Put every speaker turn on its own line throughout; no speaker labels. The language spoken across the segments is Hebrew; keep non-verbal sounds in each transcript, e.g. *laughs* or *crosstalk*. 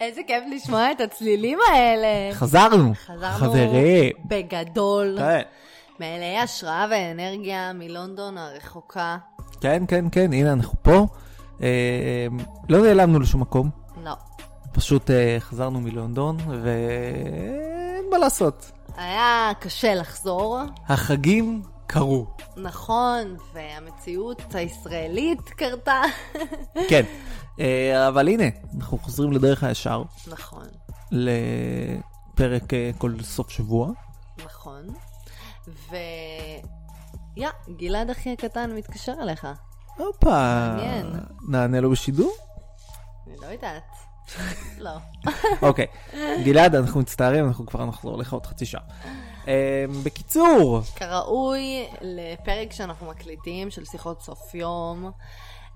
איזה כיף לשמוע את הצלילים האלה.
חזרנו.
חזרנו
חברים.
בגדול.
כן,
מלאי השראה ואנרגיה מלונדון הרחוקה.
כן, כן, כן, הנה אנחנו פה. אה, לא נעלמנו לשום מקום,
לא.
פשוט אה, חזרנו מלונדון, ואין מה לעשות.
היה קשה לחזור,
החגים קרו.
נכון, והמציאות הישראלית קרתה. *laughs*
כן. אה, אבל הנה, אנחנו חוזרים לדרך הישר,
נכון,
לפרק אה, כל סוף שבוע.
נכון. ו... יא, גלעד אחי הקטן מתקשר אליך.
הופה.
מעניין.
נענה לו בשידור?
אני לא יודעת. לא.
אוקיי. גלעד, אנחנו מצטערים, אנחנו כבר נחזור לך עוד חצי שעה. אה, בקיצור,
כראוי לפרק שאנחנו מקליטים של שיחות סוף יום,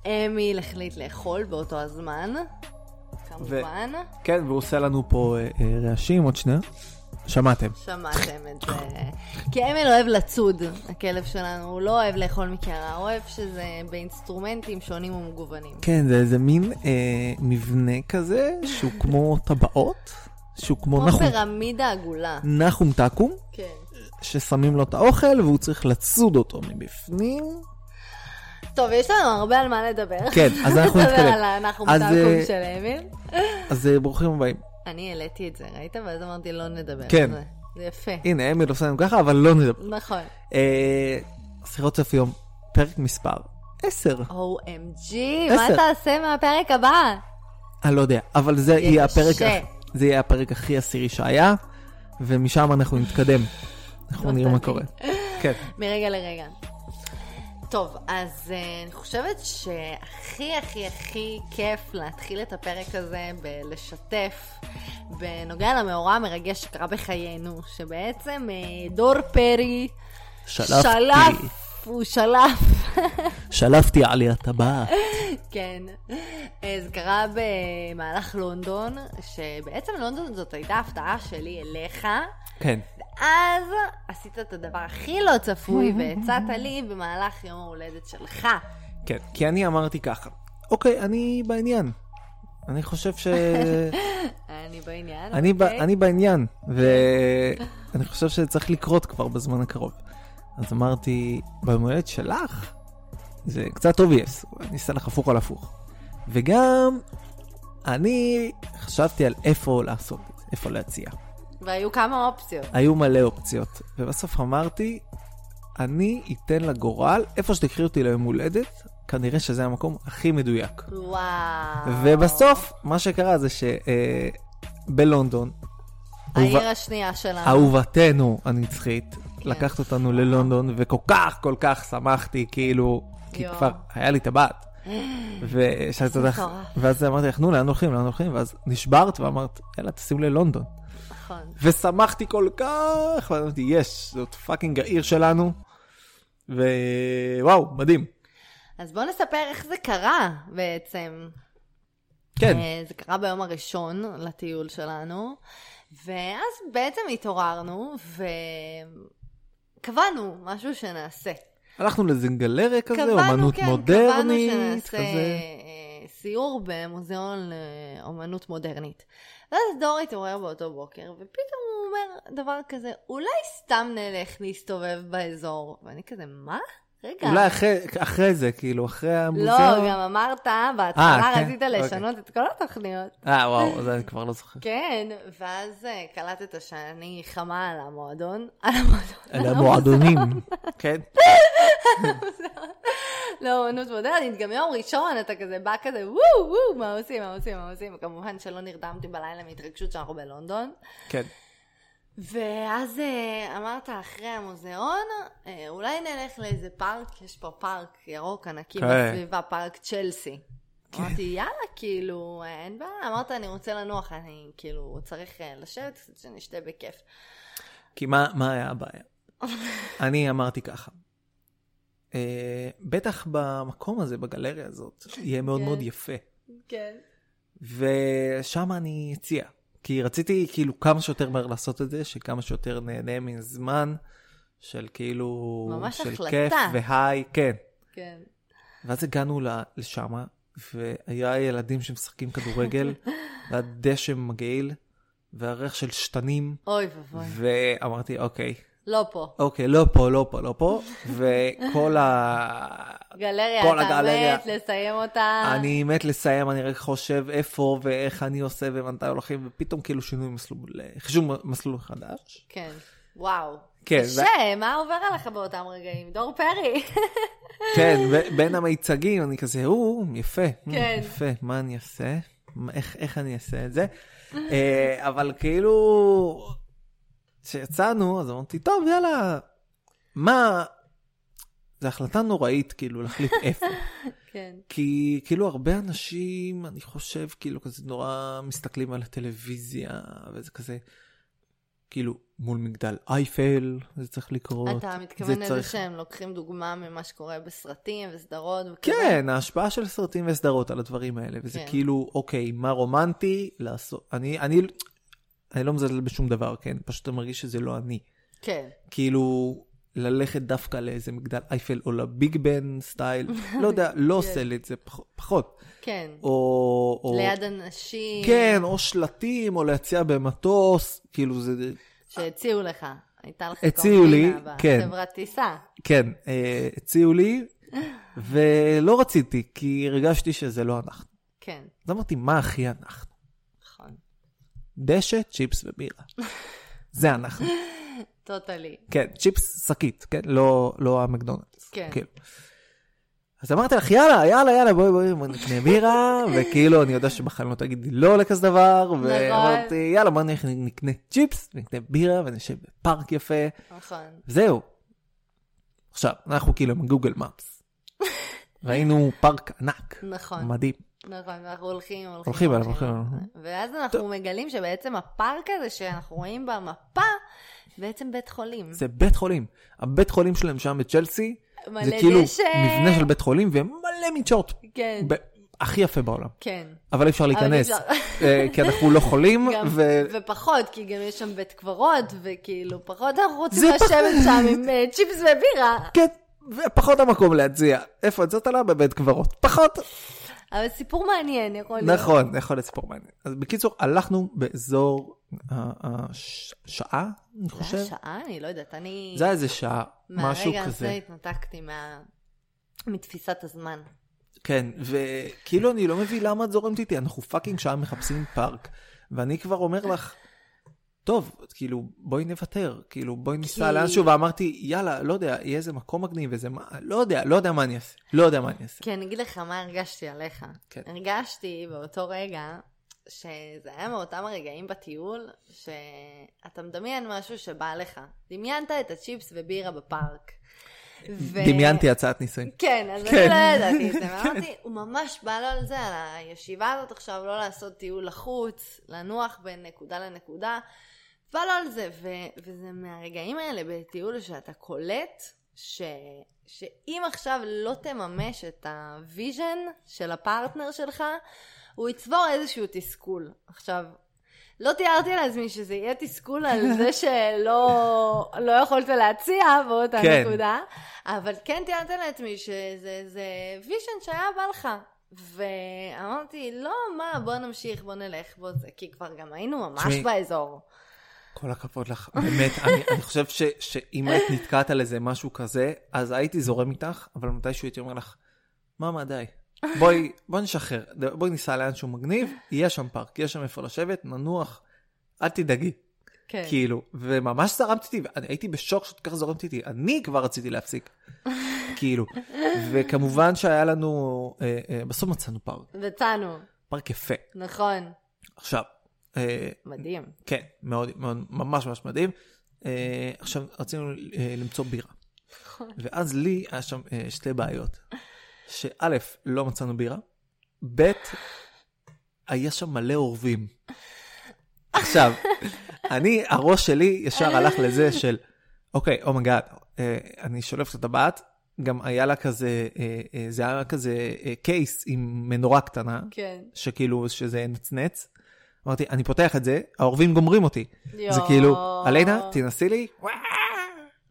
אמיל החליט לאכול באותו הזמן, כמובן.
כן, והוא עושה לנו פה אה, אה, רעשים, עוד שנייה. שמעתם.
שמעתם את זה. כי אמיל אוהב לצוד, הכלב שלנו, הוא לא אוהב לאכול מקערה, הוא אוהב שזה באינסטרומנטים שונים ומגוונים.
כן, זה איזה מין אה, מבנה כזה, שהוא כמו טבעות, שהוא כמו
כמו
נחום,
פירמידה עגולה.
נחום תקום,
כן.
ששמים לו את האוכל והוא צריך לצוד אותו מבפנים.
טוב, יש לנו הרבה על מה לדבר.
כן,
*laughs*
אז אנחנו
נדבר
נתקדם.
על אנחנו
אז, אה,
מטעקום של אמיל.
אז אה, ברוכים הבאים.
אני העליתי את זה, ראית? ואז אמרתי, לא נדבר
כן. אה,
על זה. זה יפה.
הנה, אמיל עושה לנו ככה, אבל לא נדבר.
נכון.
אה, שיחות סוף יום, פרק מספר 10.
OMG, מה
עשר.
תעשה מהפרק הבא?
אני לא יודע, אבל זה יהיה הפרק,
קשה.
הכ- זה יהיה הפרק הכי עשירי שהיה, ומשם אנחנו נתקדם. אנחנו
לא
נראה מה
תאמין.
קורה. כן.
מרגע לרגע. טוב, אז אה, אני חושבת שהכי הכי הכי כיף להתחיל את הפרק הזה בלשתף בנוגע למאורע המרגש שקרה בחיינו, שבעצם אה, דור פרי
שלפתי.
שלף, הוא שלף, *laughs*
שלפתי על הטבעת.
כן. אה, זה קרה במהלך לונדון, שבעצם לונדון זאת הייתה הפתעה שלי אליך,
כן.
אז עשית את הדבר הכי לא צפוי והצעת לי במהלך יום ההולדת שלך.
כן, כי אני אמרתי ככה, אוקיי, אני בעניין. אני חושב ש...
אני בעניין,
אני, ב...
אוקיי?
אני בעניין, ואני חושב שצריך לקרות כבר בזמן הקרוב. אז אמרתי, ביום הולדת שלך? זה קצת obvious, אני אעשה לך הפוך על הפוך. וגם, אני חשבתי על איפה לעשות, את זה, איפה להציע.
והיו כמה אופציות.
היו מלא אופציות, ובסוף אמרתי, אני אתן לגורל, איפה שתקחי אותי ליום הולדת, כנראה שזה המקום הכי מדויק.
וואו.
ובסוף, מה שקרה זה אה, שבלונדון,
העיר השנייה שלנו.
אהובתנו הנצחית,
כן.
לקחת אותנו ללונדון, וכל כך, כל כך שמחתי, כאילו, כי
יואו.
כבר היה לי
*gasps*
טבעת. ושאלת
זה
אותך,
מטורף.
ואז אמרתי לך, נו, לאן הולכים, לאן הולכים? ואז נשברת ואמרת, יאללה, תשים ללונדון.
נכון.
ושמחתי כל כך, ואז אמרתי, יש, זאת פאקינג העיר שלנו, ווואו, מדהים.
אז בואו נספר איך זה קרה בעצם.
כן,
אה, זה קרה ביום הראשון לטיול שלנו, ואז בעצם התעוררנו וקבענו משהו שנעשה.
הלכנו לזנגלריה כזה,
קבענו,
אומנות
כן, קבענו
מודרנית,
שנעשה
כזה.
אה, סיור במוזיאון לאומנות מודרנית. ואז דור התעורר באותו בוקר, ופתאום הוא אומר דבר כזה, אולי סתם נלך להסתובב באזור. ואני כזה, מה? רגע.
אולי אחרי- אחרי זה, כאילו, אחרי המוזיאון.
לא, גם אמרת,
אה,
בהתחלה
כן,
רצית
אוקיי.
לשנות את כל התוכניות.
אה, וואו, זה אני כבר לא זוכר.
כן, ואז אה, קלטת שאני חמה על המועדון, על המועדון,
אלה המועדונים. *laughs* כן.
לאומנות מודרנית, גם יום ראשון אתה כזה בא כזה וואו וואו מה עושים מה עושים מה עושים, כמובן שלא נרדמתי בלילה מהתרגשות שאנחנו בלונדון.
כן.
ואז אה, אמרת אחרי המוזיאון, אה, אולי נלך לאיזה פארק, יש פה פארק ירוק ענקי
כן.
בסביבה, פארק צ'לסי. אמרתי, יאללה, כאילו, אה, אין בעיה. אמרת, אני רוצה לנוח, אני כאילו צריך אה, לשבת קצת, שנשתה בכיף.
כי מה מה היה הבעיה? אני אמרתי ככה. אה, בטח במקום הזה, בגלריה הזאת, יהיה מאוד
כן.
מאוד יפה.
כן.
ושם אני אציע. כי רציתי כאילו כמה שיותר מהר לעשות את זה, שכמה שיותר נהנה מזמן של כאילו...
ממש
של
החלטה.
כיף והיי, כן.
כן.
ואז הגענו ל- לשמה, והיה ילדים שמשחקים
*laughs*
כדורגל, והדשא מגעיל, והריח של שתנים,
אוי ואבוי.
ואמרתי, אוקיי,
לא פה.
אוקיי, לא פה, לא פה, לא פה, *laughs* וכל ה...
גלריה,
כל
אתה
הגלריה.
מת לסיים אותה.
אני מת לסיים, אני רק חושב איפה ואיך אני עושה ומתי הולכים, ופתאום כאילו שינוי מסלול, חישוב מסלול חדש.
כן. וואו.
כן,
קשה, מה עובר עליך באותם רגעים? דור פרי. *laughs*
כן, ו- בין המיצגים, אני כזה, או, יפה, מ,
כן.
יפה, מה אני אעשה? מה- איך, איך אני אעשה את זה? אה, אבל כאילו, כשיצאנו, אז אמרתי, טוב, יאללה, מה... זו החלטה נוראית, כאילו, להחליט איפה.
כן.
כי כאילו הרבה אנשים, אני חושב, כאילו כזה נורא מסתכלים על הטלוויזיה, וזה כזה, כאילו, מול מגדל אייפל, זה צריך לקרות.
אתה מתכוון
זה
לזה
צריך-
שהם לוקחים דוגמה ממה שקורה בסרטים וסדרות וכזה?
כן, ההשפעה של סרטים וסדרות על הדברים האלה, וזה
כן.
כאילו, אוקיי, מה רומנטי לעשות? אני, אני, אני לא מזלזל בשום דבר, כן? פשוט אתה מרגיש שזה לא אני.
כן.
כאילו, ללכת דווקא לאיזה מגדל אייפל או לביג בן סטייל, לא יודע,
*laughs*
לא עושה לי את זה, פח- פחות.
כן.
או... או-
ליד אנשים
כן, או שלטים, או להציע במטוס, כאילו זה,
שהציעו לך. הייתה לך
הציעו לי,
קומבינה
כן.
בחברת טיסה.
כן, אה, הציעו לי, ולא רציתי, כי הרגשתי שזה לא אנחנו.
כן,
אז אמרתי, מה הכי אנחנו?
נכון.
דשא, צ'יפס ובירה. זה
*laughs*
אנחנו.
טוטלי.
כן, צ'יפס שקית, כן? לא, לא המקדונלדס.
כן.
כאילו. אז אמרתי לך, יאללה, יאללה, יאללה, בואי, בואי, בואי נקנה
*laughs*
בירה, וכאילו, אני יודע שבכלל לא תגידי לא לכזה דבר,
נכון.
ואמרתי, יאללה, בואי נלך, נקנה צ'יפס, נקנה בירה, ונשב בפארק יפה,
נכון.
זהו. עכשיו, אנחנו כאילו עם גוגל מפס. ראינו פארק ענק,
נכון.
מדהים.
נכון, ואנחנו הולכים, הולכים,
הולכים עליו, הולכים
ואז אנחנו מגלים שבעצם הפארק הזה שאנחנו רואים במפה, בעצם בית חולים.
זה בית חולים. הבית חולים שלהם שם בצ'לסי,
מלא
זה כאילו
דשא.
מבנה של בית חולים ומלא מנשאות.
כן,
ב- הכי יפה בעולם.
כן.
אבל אי אפשר להיכנס,
אי אפשר.
אה, כי אנחנו לא חולים,
גם,
ו...
ופחות, כי גם יש שם בית קברות, וכאילו פחות אנחנו רוצים
זה
לשבת שם עם אה, צ'יפס ובירה.
כן, ופחות המקום להציע. איפה את זאת עלה? בבית קברות. פחות.
אבל סיפור מעניין, יכול להיות.
נכון, יכול להיות סיפור מעניין. אז בקיצור, הלכנו באזור השעה, אני
זה
חושב.
היה שעה? אני לא יודעת, אני...
זה היה איזה שעה, משהו
מהרגע הזה
כזה.
התנתקתי מה... מתפיסת הזמן.
כן, וכאילו אני לא מבין למה את זורמת איתי, אנחנו פאקינג שעה מחפשים פארק, ואני כבר אומר לך, טוב, כאילו, בואי נוותר, כאילו, בואי ניסע
כי-
לאנשהו, ואמרתי, יאללה, לא יודע, יהיה איזה מקום מגניב, איזה מה, לא יודע, לא יודע מה אני אעשה, לא יודע מה אני אעשה.
כי אני אגיד לך מה הרגשתי עליך.
כן.
הרגשתי באותו רגע, שזה היה מאותם הרגעים בטיול, שאתה מדמיין משהו שבא לך. דמיינת את הצ'יפס ובירה בפארק. ו...
דמיינתי הצעת נישואים.
כן, אז
*laughs* כן.
אני לא ידעתי את זה, ואמרתי, הוא ממש בא לו על זה, על הישיבה הזאת עכשיו, לא לעשות טיול לחוץ, לנוח בין נקודה לנקודה, בא לו על זה, ו- וזה מהרגעים האלה בטיול שאתה קולט, ש- שאם עכשיו לא תממש את הוויז'ן של הפרטנר שלך, הוא יצבור איזשהו תסכול. עכשיו, לא תיארתי לעצמי שזה יהיה
*laughs*
תסכול על זה שלא לא יכולת להציע באותה
כן.
נקודה, אבל כן תיארתי לעצמי שזה זה ויז'ן שהיה בא לך. ואמרתי, לא, מה, בוא נמשיך, בוא נלך, בוא זה, כי כבר גם היינו ממש
תשמעי.
באזור.
כל הכבוד לך, באמת, אני, אני חושב ש, שאם את נתקעת על איזה משהו כזה, אז הייתי זורם איתך, אבל מתישהו הייתי אומר לך, מאמא די, בואי, בואי נשחרר, בואי ניסע לאנשהו מגניב, יהיה שם פארק, יהיה שם איפה לשבת, ננוח, אל תדאגי,
כן.
כאילו, וממש זרמת איתי, ואני הייתי בשוק שאת כך זורמת איתי, אני כבר רציתי להפסיק, כאילו, וכמובן שהיה לנו, אה, אה, בסוף מצאנו פארק,
מצאנו,
פארק יפה,
נכון,
עכשיו, אה,
מדהים.
כן, מאוד, מאוד, ממש ממש מדהים. Uh, עכשיו, רצינו uh, למצוא בירה. ואז לי היה שם uh, שתי בעיות. שא', לא מצאנו בירה, ב', היה שם מלא אורבים. עכשיו, אני, הראש שלי ישר הלך לזה של, אוקיי, אומייגאד, uh, אני שולף את הטבעת, גם היה לה כזה, uh, uh, זה היה כזה uh, קייס עם מנורה קטנה,
כן.
שכאילו, שזה נצנץ. אמרתי, אני פותח את זה, כאילו, העורבים גומרים אותי.
יואו.
זה כאילו, אלנה, תנסי לי,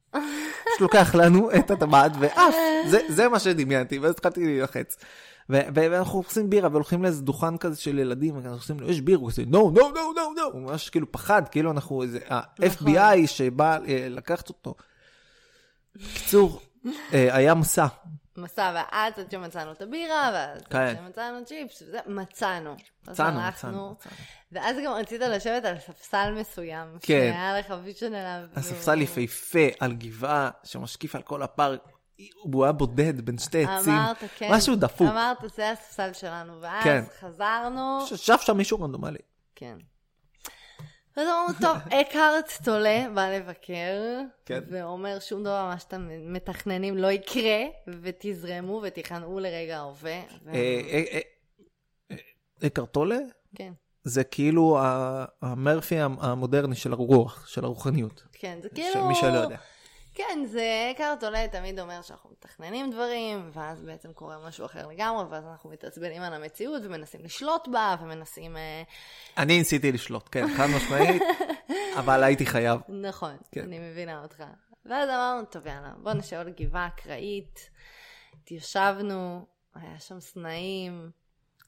פשוט לוקח לנו את הטבעת ועף, זה, זה מה שדמיינתי, ואז התחלתי להילחץ. ו- ו- ואנחנו עושים בירה והולכים לאיזה דוכן כזה של ילדים, ואנחנו עושים לו, יש בירה, הוא עושה, נו, נו, נו, נו, נו, הוא ממש כאילו פחד, כאילו אנחנו איזה,
נכון.
ה-FBI שבא אה, לקחת אותו. בקיצור, אה, היה מסע,
מסע ואז עד שמצאנו את הבירה, ואז
כן.
עד שמצאנו צ'יפס, וזה, מצאנו. אז
מצאנו,
הלכנו,
מצאנו, מצאנו.
ואז גם רצית לשבת על ספסל מסוים,
כן.
שהיה לך ויז'ן עליו.
הספסל יפהפה על גבעה שמשקיף על כל הפארק, הוא היה בודד בין שתי עצים,
אמרת, כן.
משהו דפוק,
אמרת, זה הספסל שלנו, ואז
כן.
חזרנו.
ששף שם מישהו רנדומלי.
כן. אז אמרנו, טוב, אקהרט תולה, בא לבקר,
כן.
ואומר שום דבר מה שאתם מתכננים לא יקרה, ותזרמו ותיכנעו לרגע ההווה. ו-
אה, אה, אה, אה, קרטולה
כן,
זה כאילו ה- המרפי המ- המודרני של הרוח, של הרוחניות.
כן, זה כאילו...
שמי שלא יודע.
כן, זה אקהרט תולה תמיד אומר שאנחנו מתכננים דברים, ואז בעצם קורה משהו אחר לגמרי, ואז אנחנו מתעצבנים על המציאות ומנסים לשלוט בה, ומנסים... אה,
אני ניסיתי לשלוט, כן, חד
*laughs*
משמעית, אבל הייתי חייב.
נכון,
כן.
כן. אני מבינה אותך. ואז אמרנו, טוב, יאללה, בוא נשאר לגבעה אקראית. התיישבנו, היה שם סנאים.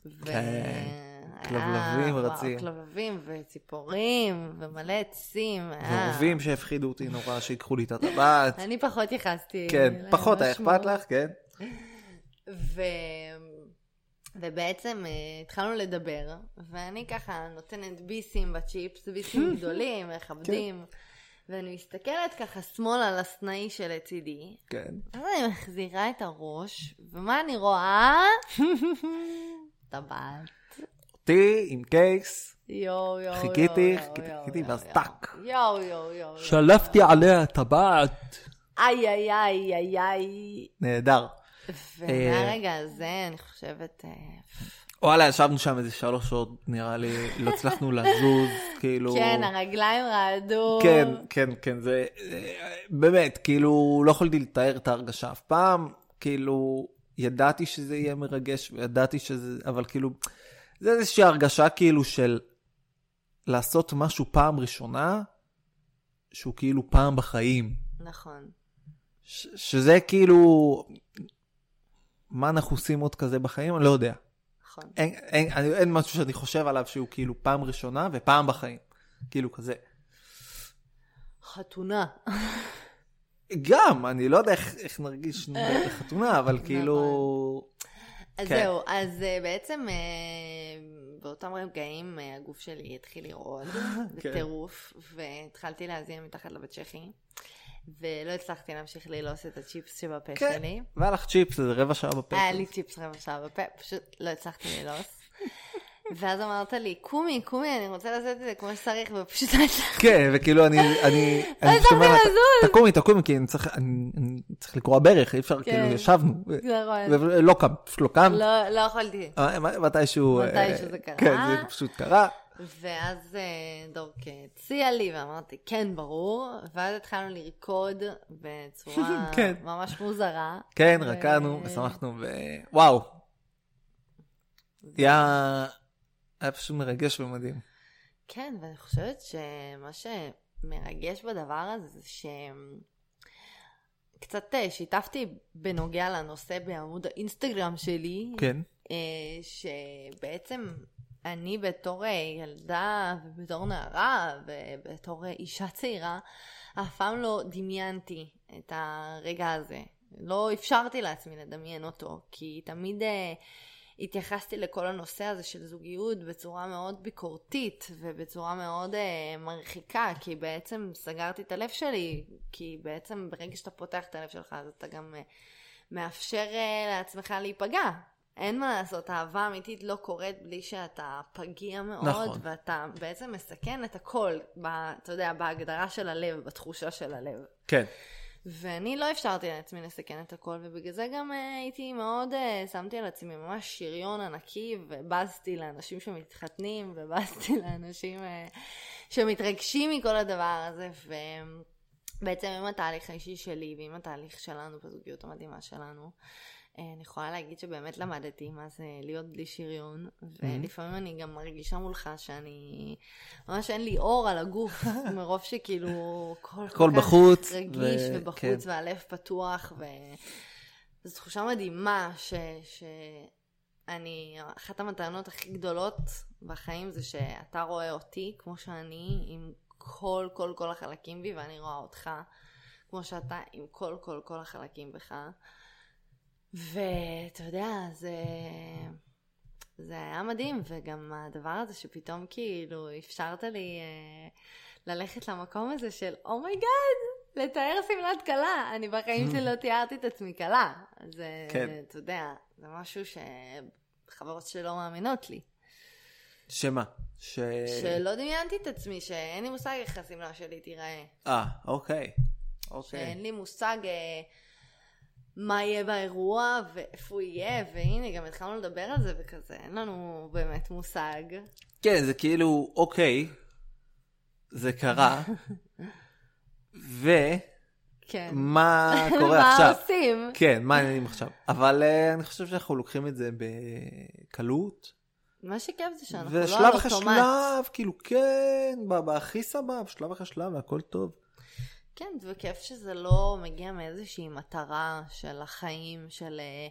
ו...
כן,
היה-
כלבלבים
וואו,
רצים.
כלבלבים וציפורים ומלא עצים. היה-
ואהובים שהפחידו אותי נורא, שיקחו לי את הטבעת.
אני פחות לא יחסתי.
כן, פחות היה
למשמעות.
אכפת לך, כן.
ו... ובעצם אה, התחלנו לדבר, ואני ככה נותנת ביסים בצ'יפס, *laughs* ביסים גדולים, מכבדים, ואני מסתכלת ככה שמאלה על הסנאי שלצידי,
כן.
אז אני מחזירה את הראש, ומה אני רואה? טבעת.
אותי עם קייס,
יואו, יואו,
חיכיתי,
יואו,
חיכיתי,
יואו,
חיכיתי,
יואו,
ואז
יואו.
טאק.
יואו, יואו, יואו.
שלפתי עליה טבעת.
איי, איי, איי, איי, איי.
נהדר. אה,
ומהרגע הזה, אני חושבת... אה,
וואלה, ישבנו שם איזה שלוש שעות, נראה לי, לא הצלחנו לזוז, כאילו...
כן, הרגליים רעדו.
כן, כן, כן, זה... אה, באמת, כאילו, לא יכולתי לתאר את ההרגשה אף פעם, כאילו, ידעתי שזה יהיה מרגש, וידעתי שזה... אבל כאילו, זה איזושהי הרגשה כאילו של לעשות משהו פעם ראשונה, שהוא כאילו פעם בחיים.
נכון.
ש- שזה כאילו, מה אנחנו עושים עוד כזה בחיים? אני לא יודע.
נכון.
אין, אין, אני- אין משהו שאני חושב עליו שהוא כאילו פעם ראשונה ופעם בחיים. כאילו כזה.
חתונה.
גם, אני לא יודע איך, איך
*laughs*
נרגיש בחתונה, אבל
נכון.
כאילו...
אז
כן.
זהו, אז אה, בעצם אה, באותם רגעים אה, הגוף שלי
*laughs*
התחיל לרעוד
כן.
בטירוף, והתחלתי להזיע מתחת לבית צ'כי, ולא הצלחתי להמשיך ללעוס את הצ'יפס שבפה
כן.
שלי.
והיה לך צ'יפס, איזה רבע שעה בפה.
היה לי צ'יפס רבע שעה בפה, פשוט לא הצלחתי
*laughs*
ללעוס. ואז אמרת לי, קומי, קומי, אני רוצה לעשות את זה כמו שצריך, ופשוט לא הצלחתי.
כן, וכאילו אני, אני,
*laughs*
אני פשוט אומר, לה, "ת- תקומי, תקומי, כי אני צריך, אני, אני צריך לקרוע ברך, אי אפשר,
כן.
כאילו,
*laughs*
ישבנו, ו-
נכון.
ולא קם, פשוט לא קם,
לא- לא יכולתי.
אה, מתישהו, אה,
מתישהו זה קרה.
כן, זה פשוט קרה,
ואז אה, דורק הציע לי, ואמרתי, כן, ברור. ואז התחלנו לרקוד בצורה
*laughs* כן.
ממש מוזרה.
כן,
ו-
רקענו, ושמחנו, ווואו. היה... היה פשוט מרגש ומדהים.
כן, ואני חושבת שמה שמרגש בדבר הזה זה ש... קצת אה, שיתפתי בנוגע לנושא בעמוד האינסטגרם שלי,
כן.
אה, שבעצם אני בתור אה, ילדה ובתור נערה ובתור אה, אישה צעירה, אף פעם לא דמיינתי את הרגע הזה. לא אפשרתי לעצמי לדמיין אותו, כי תמיד אה, התייחסתי לכל הנושא הזה של זוגיות בצורה מאוד ביקורתית ובצורה מאוד אה, מרחיקה, כי בעצם סגרתי את הלב שלי, כי בעצם ברגע שאתה פותח את הלב שלך אז אתה גם אה, מאפשר אה, לעצמך להיפגע. אין מה לעשות, אהבה אמיתית לא קורית בלי שאתה פגיע מאוד,
נכון.
ואתה בעצם מסכן את הכל, ב, אתה יודע, בהגדרה של הלב, בתחושה של הלב.
כן.
ואני לא אפשרתי לעצמי לסכן את הכל, ובגלל זה גם אה, הייתי מאוד, אה, שמתי על עצמי ממש שריון ענקי, ובזתי לאנשים שמתחתנים, ובזתי לאנשים אה, שמתרגשים מכל הדבר הזה, ובעצם עם התהליך האישי שלי, ועם התהליך שלנו בזוגיות המדהימה שלנו, אה, אני יכולה להגיד שבאמת למדתי מה זה להיות בלי שריון, ולפעמים אני גם מרגישה מולך שאני, ממש אין לי אור על הגוף, מרוב שכאילו כל
הכל
כך
בחוץ,
כן, רגיש
ו-
ובחוץ
כן.
והלב פתוח, ו... זו תחושה מדהימה ש... ש... אני, אחת המתנות הכי גדולות בחיים זה שאתה רואה אותי כמו שאני, עם כל כל כל החלקים בי, ואני רואה אותך כמו שאתה, עם כל כל כל החלקים בך. ואתה יודע, זה... זה היה מדהים, וגם הדבר הזה שפתאום כאילו אפשרת לי אה, ללכת למקום הזה של אומייגאד, oh my God, לתאר שמלת כלה. אני בחיים שלי לא תיארתי את עצמי כלה. זה,
כן.
אתה יודע, זה משהו שחברות שלי לא מאמינות לי.
שמה? ש...
שלא דמיינתי את עצמי, שאין לי מושג איך השמלה שלי תיראה.
אה, אוקיי.
שאין
אוקיי.
לי מושג אה, מה יהיה באירוע ואיפה יהיה, והנה, גם התחלנו לדבר על זה וכזה, אין לנו באמת מושג.
כן, זה כאילו, אוקיי, זה קרה, ומה
כן. *laughs*
קורה עכשיו?
מה עושים?
כן, מה העניינים עכשיו? אבל אה, אני חושב שאנחנו לוקחים את זה בקלות.
מה שכיף זה שאנחנו לא על
ושלב
אוטומט.
אחרי שלב, כאילו כן, ב- בהכי סבב, שלב אחרי שלב, והכל טוב.
כן, וכיף שזה לא מגיע מאיזושהי מטרה של החיים, של אה,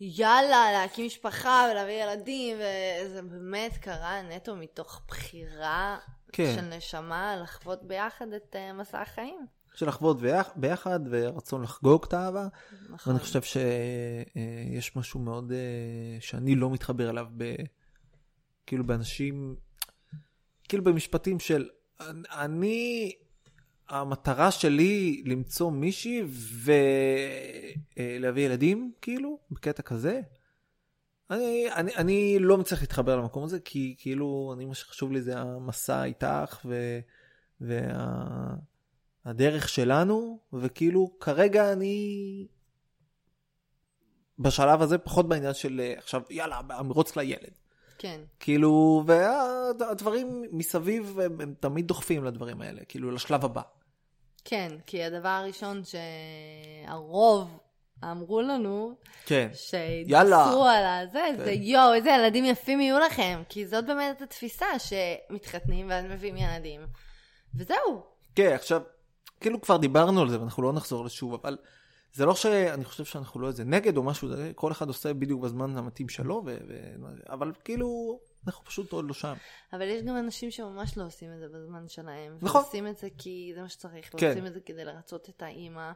יאללה, להקים משפחה ולהביא ילדים, וזה באמת קרה נטו מתוך בחירה
כן.
של נשמה לחוות ביחד את אה, מסע החיים.
של לחוות ביח- ביחד ורצון לחגוג את האהבה.
נכון.
ואני חושב שיש משהו מאוד אה, שאני לא מתחבר אליו, ב... כאילו באנשים, כאילו במשפטים של אני, המטרה שלי למצוא מישהי ולהביא ילדים, כאילו, בקטע כזה. אני, אני, אני לא מצליח להתחבר למקום הזה, כי כאילו, אני, מה שחשוב לי זה המסע איתך ו, והדרך שלנו, וכאילו, כרגע אני בשלב הזה פחות בעניין של אה, עכשיו, יאללה, המרוץ לילד.
כן.
כאילו, והדברים מסביב הם, הם תמיד דוחפים לדברים האלה, כאילו, לשלב הבא.
כן, כי הדבר הראשון שהרוב אמרו לנו,
כן.
שהתבשרו
יאללה.
על הזה, זה יואו, איזה ילדים יפים יהיו לכם. כי זאת באמת התפיסה שמתחתנים ואז מביאים ילדים. וזהו.
כן, עכשיו, כאילו כבר דיברנו על זה ואנחנו לא נחזור לשוב, אבל זה לא שאני חושב שאנחנו לא איזה נגד או משהו, זה- כל אחד עושה בדיוק בזמן המתאים שלו, ו... ו... אבל כאילו, אנחנו פשוט עוד לא שם.
אבל יש גם אנשים שממש לא עושים את זה בזמן שלהם.
נכון.
ועושים את זה כי זה מה שצריך,
כן.
כן. ועושים את זה כדי לרצות את האימא,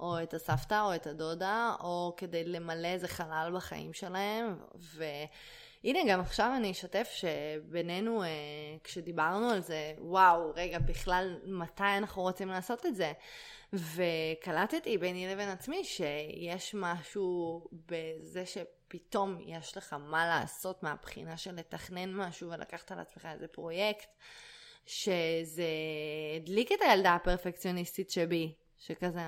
או את הסבתא, או את הדודה, או כדי למלא איזה חלל בחיים שלהם. והנה, גם עכשיו אני אשתף שבינינו, אה, כשדיברנו על זה, וואו, רגע, בכלל, מתי אנחנו רוצים לעשות את זה? וקלטתי ביני לבין עצמי שיש משהו בזה שפתאום יש לך מה לעשות מהבחינה של לתכנן משהו ולקחת על עצמך איזה פרויקט, שזה הדליק את הילדה הפרפקציוניסטית שבי, שכזה,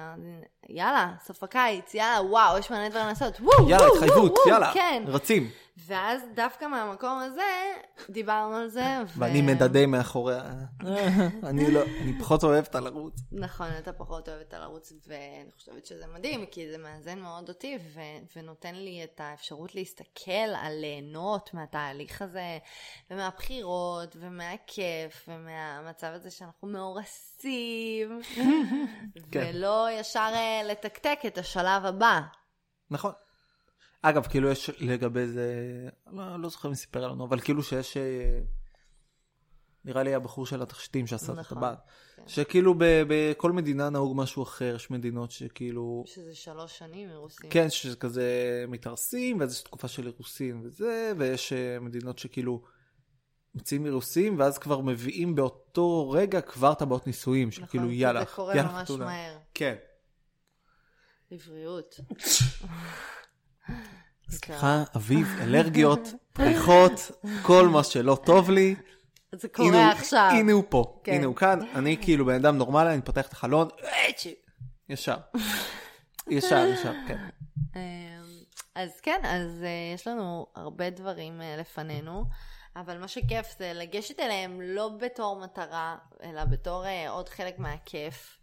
יאללה, סוף הקיץ, יאללה, וואו, יש מלא דברים לעשות, וואו, וואו,
יאללה,
וואו,
התחייבות,
וואו,
יאללה,
כן.
רצים.
ואז דווקא מהמקום הזה, דיברנו על זה,
*laughs*
ו...
ואני מדדה מאחורי ה...
*laughs*
אני לא, אני פחות אוהב את הלרוץ.
נכון, אתה פחות אוהב את הלרוץ, ואני חושבת שזה מדהים, כי זה מאזן מאוד אותי, ו- ונותן לי את האפשרות להסתכל על ליהנות מהתהליך הזה, ומהבחירות, ומהכיף, ומהמצב הזה שאנחנו מאורסים,
כן.
ולא ישר אה, לתקתק את השלב הבא.
נכון. אגב, כאילו יש לגבי זה, לא, לא זוכר מי סיפר לנו, אבל כאילו שיש, אה, נראה לי הבחור של התכשיטים שעשה את
נכון,
הטבעת,
כן.
שכאילו ב- בכל מדינה נהוג משהו אחר, יש מדינות שכאילו,
שזה שלוש שנים מרוסים.
כן, שזה כזה מתארסים, ואז יש תקופה של אירוסים וזה, ויש אה, מדינות שכאילו מציעים אירוסים, ואז כבר מביאים באותו רגע כבר טבעות נישואים,
נכון,
שכאילו
כי
כאילו, יאללה,
זה קורה
יאללה,
ממש
חתונה.
מהר.
כן. *laughs*
לבריאות. כן.
סליחה, אביב, אלרגיות, פריחות, כל מה שלא טוב לי.
זה
הנה
קורה
הוא-
עכשיו.
הנה הוא פה,
כן.
הנה הוא כאן, אני כאילו בן אדם נורמלי, אני פותח את החלון,
אה,
אצ'י,
*laughs*
ישר. ישר, ישר, כן.
אמ, אז כן, אז אה, יש לנו הרבה דברים אה, לפנינו, אבל מה שכיף זה לגשת אליהם לא בתור מטרה, אלא בתור אה, עוד חלק מהכיף.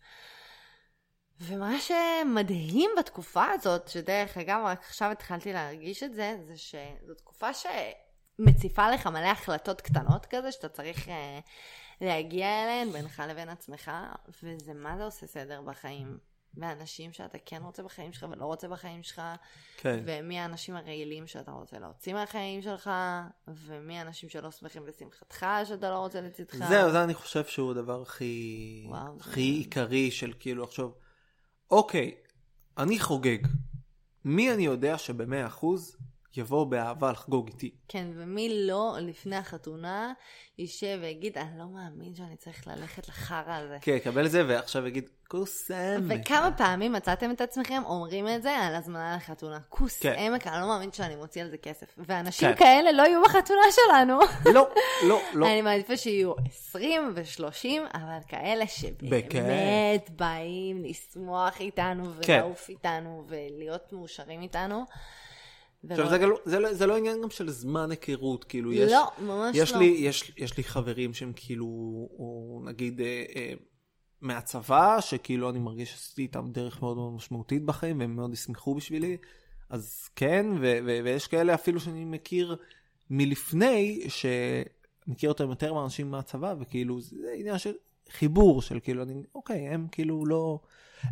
ומה שמדהים בתקופה הזאת, שדרך אגב, רק עכשיו התחלתי להרגיש את זה, זה שזו תקופה שמציפה לך מלא החלטות קטנות כזה, שאתה צריך אה, להגיע אליהן בינך לבין עצמך, וזה מה זה עושה סדר בחיים. והאנשים שאתה כן רוצה בחיים שלך ולא רוצה בחיים שלך,
כן.
ומי האנשים הרעילים שאתה רוצה להוציא מהחיים שלך, ומי האנשים שלא שמחים לשמחתך שאתה לא רוצה לצדך.
זהו, זה אני חושב שהוא הדבר הכי,
וואו, זה-
הכי עיקרי של כאילו עכשיו, אוקיי, אני חוגג. מי אני יודע שבמאה אחוז יבוא באהבה לחגוג איתי?
כן, ומי לא לפני החתונה יישב ויגיד, אני לא מאמין שאני צריך ללכת לחרא הזה.
כן, יקבל את זה ועכשיו יגיד, כוס עמק.
וכמה פעמים מצאתם את עצמכם אומרים את זה על הזמנה לחתונה? כוס
כן.
עמק, אני לא מאמין שאני מוציא על זה כסף. ואנשים
כן.
כאלה לא יהיו בחתונה שלנו.
לא, לא, לא.
*laughs* אני מעדיפה שיהיו 20 ו-30, אבל כאלה שבאמת
בכיף.
באים לשמוח איתנו
כן.
ולעוף איתנו ולהיות מאושרים איתנו.
עכשיו,
ולא-
זה, גל- זה, לא- זה לא עניין גם של זמן היכרות, כאילו, יש...
לא, ממש
יש
לא.
לי, יש, יש לי חברים שהם כאילו, או נגיד אה, אה, מהצבא, שכאילו אני מרגיש שעשיתי איתם דרך מאוד מאוד משמעותית בחיים, והם מאוד ישמחו בשבילי, אז כן, ו- ו- ויש כאלה אפילו שאני מכיר מלפני, שמכיר אותם יותר מאנשים מהצבא, וכאילו זה עניין של חיבור, של כאילו, אני, אוקיי, הם כאילו לא,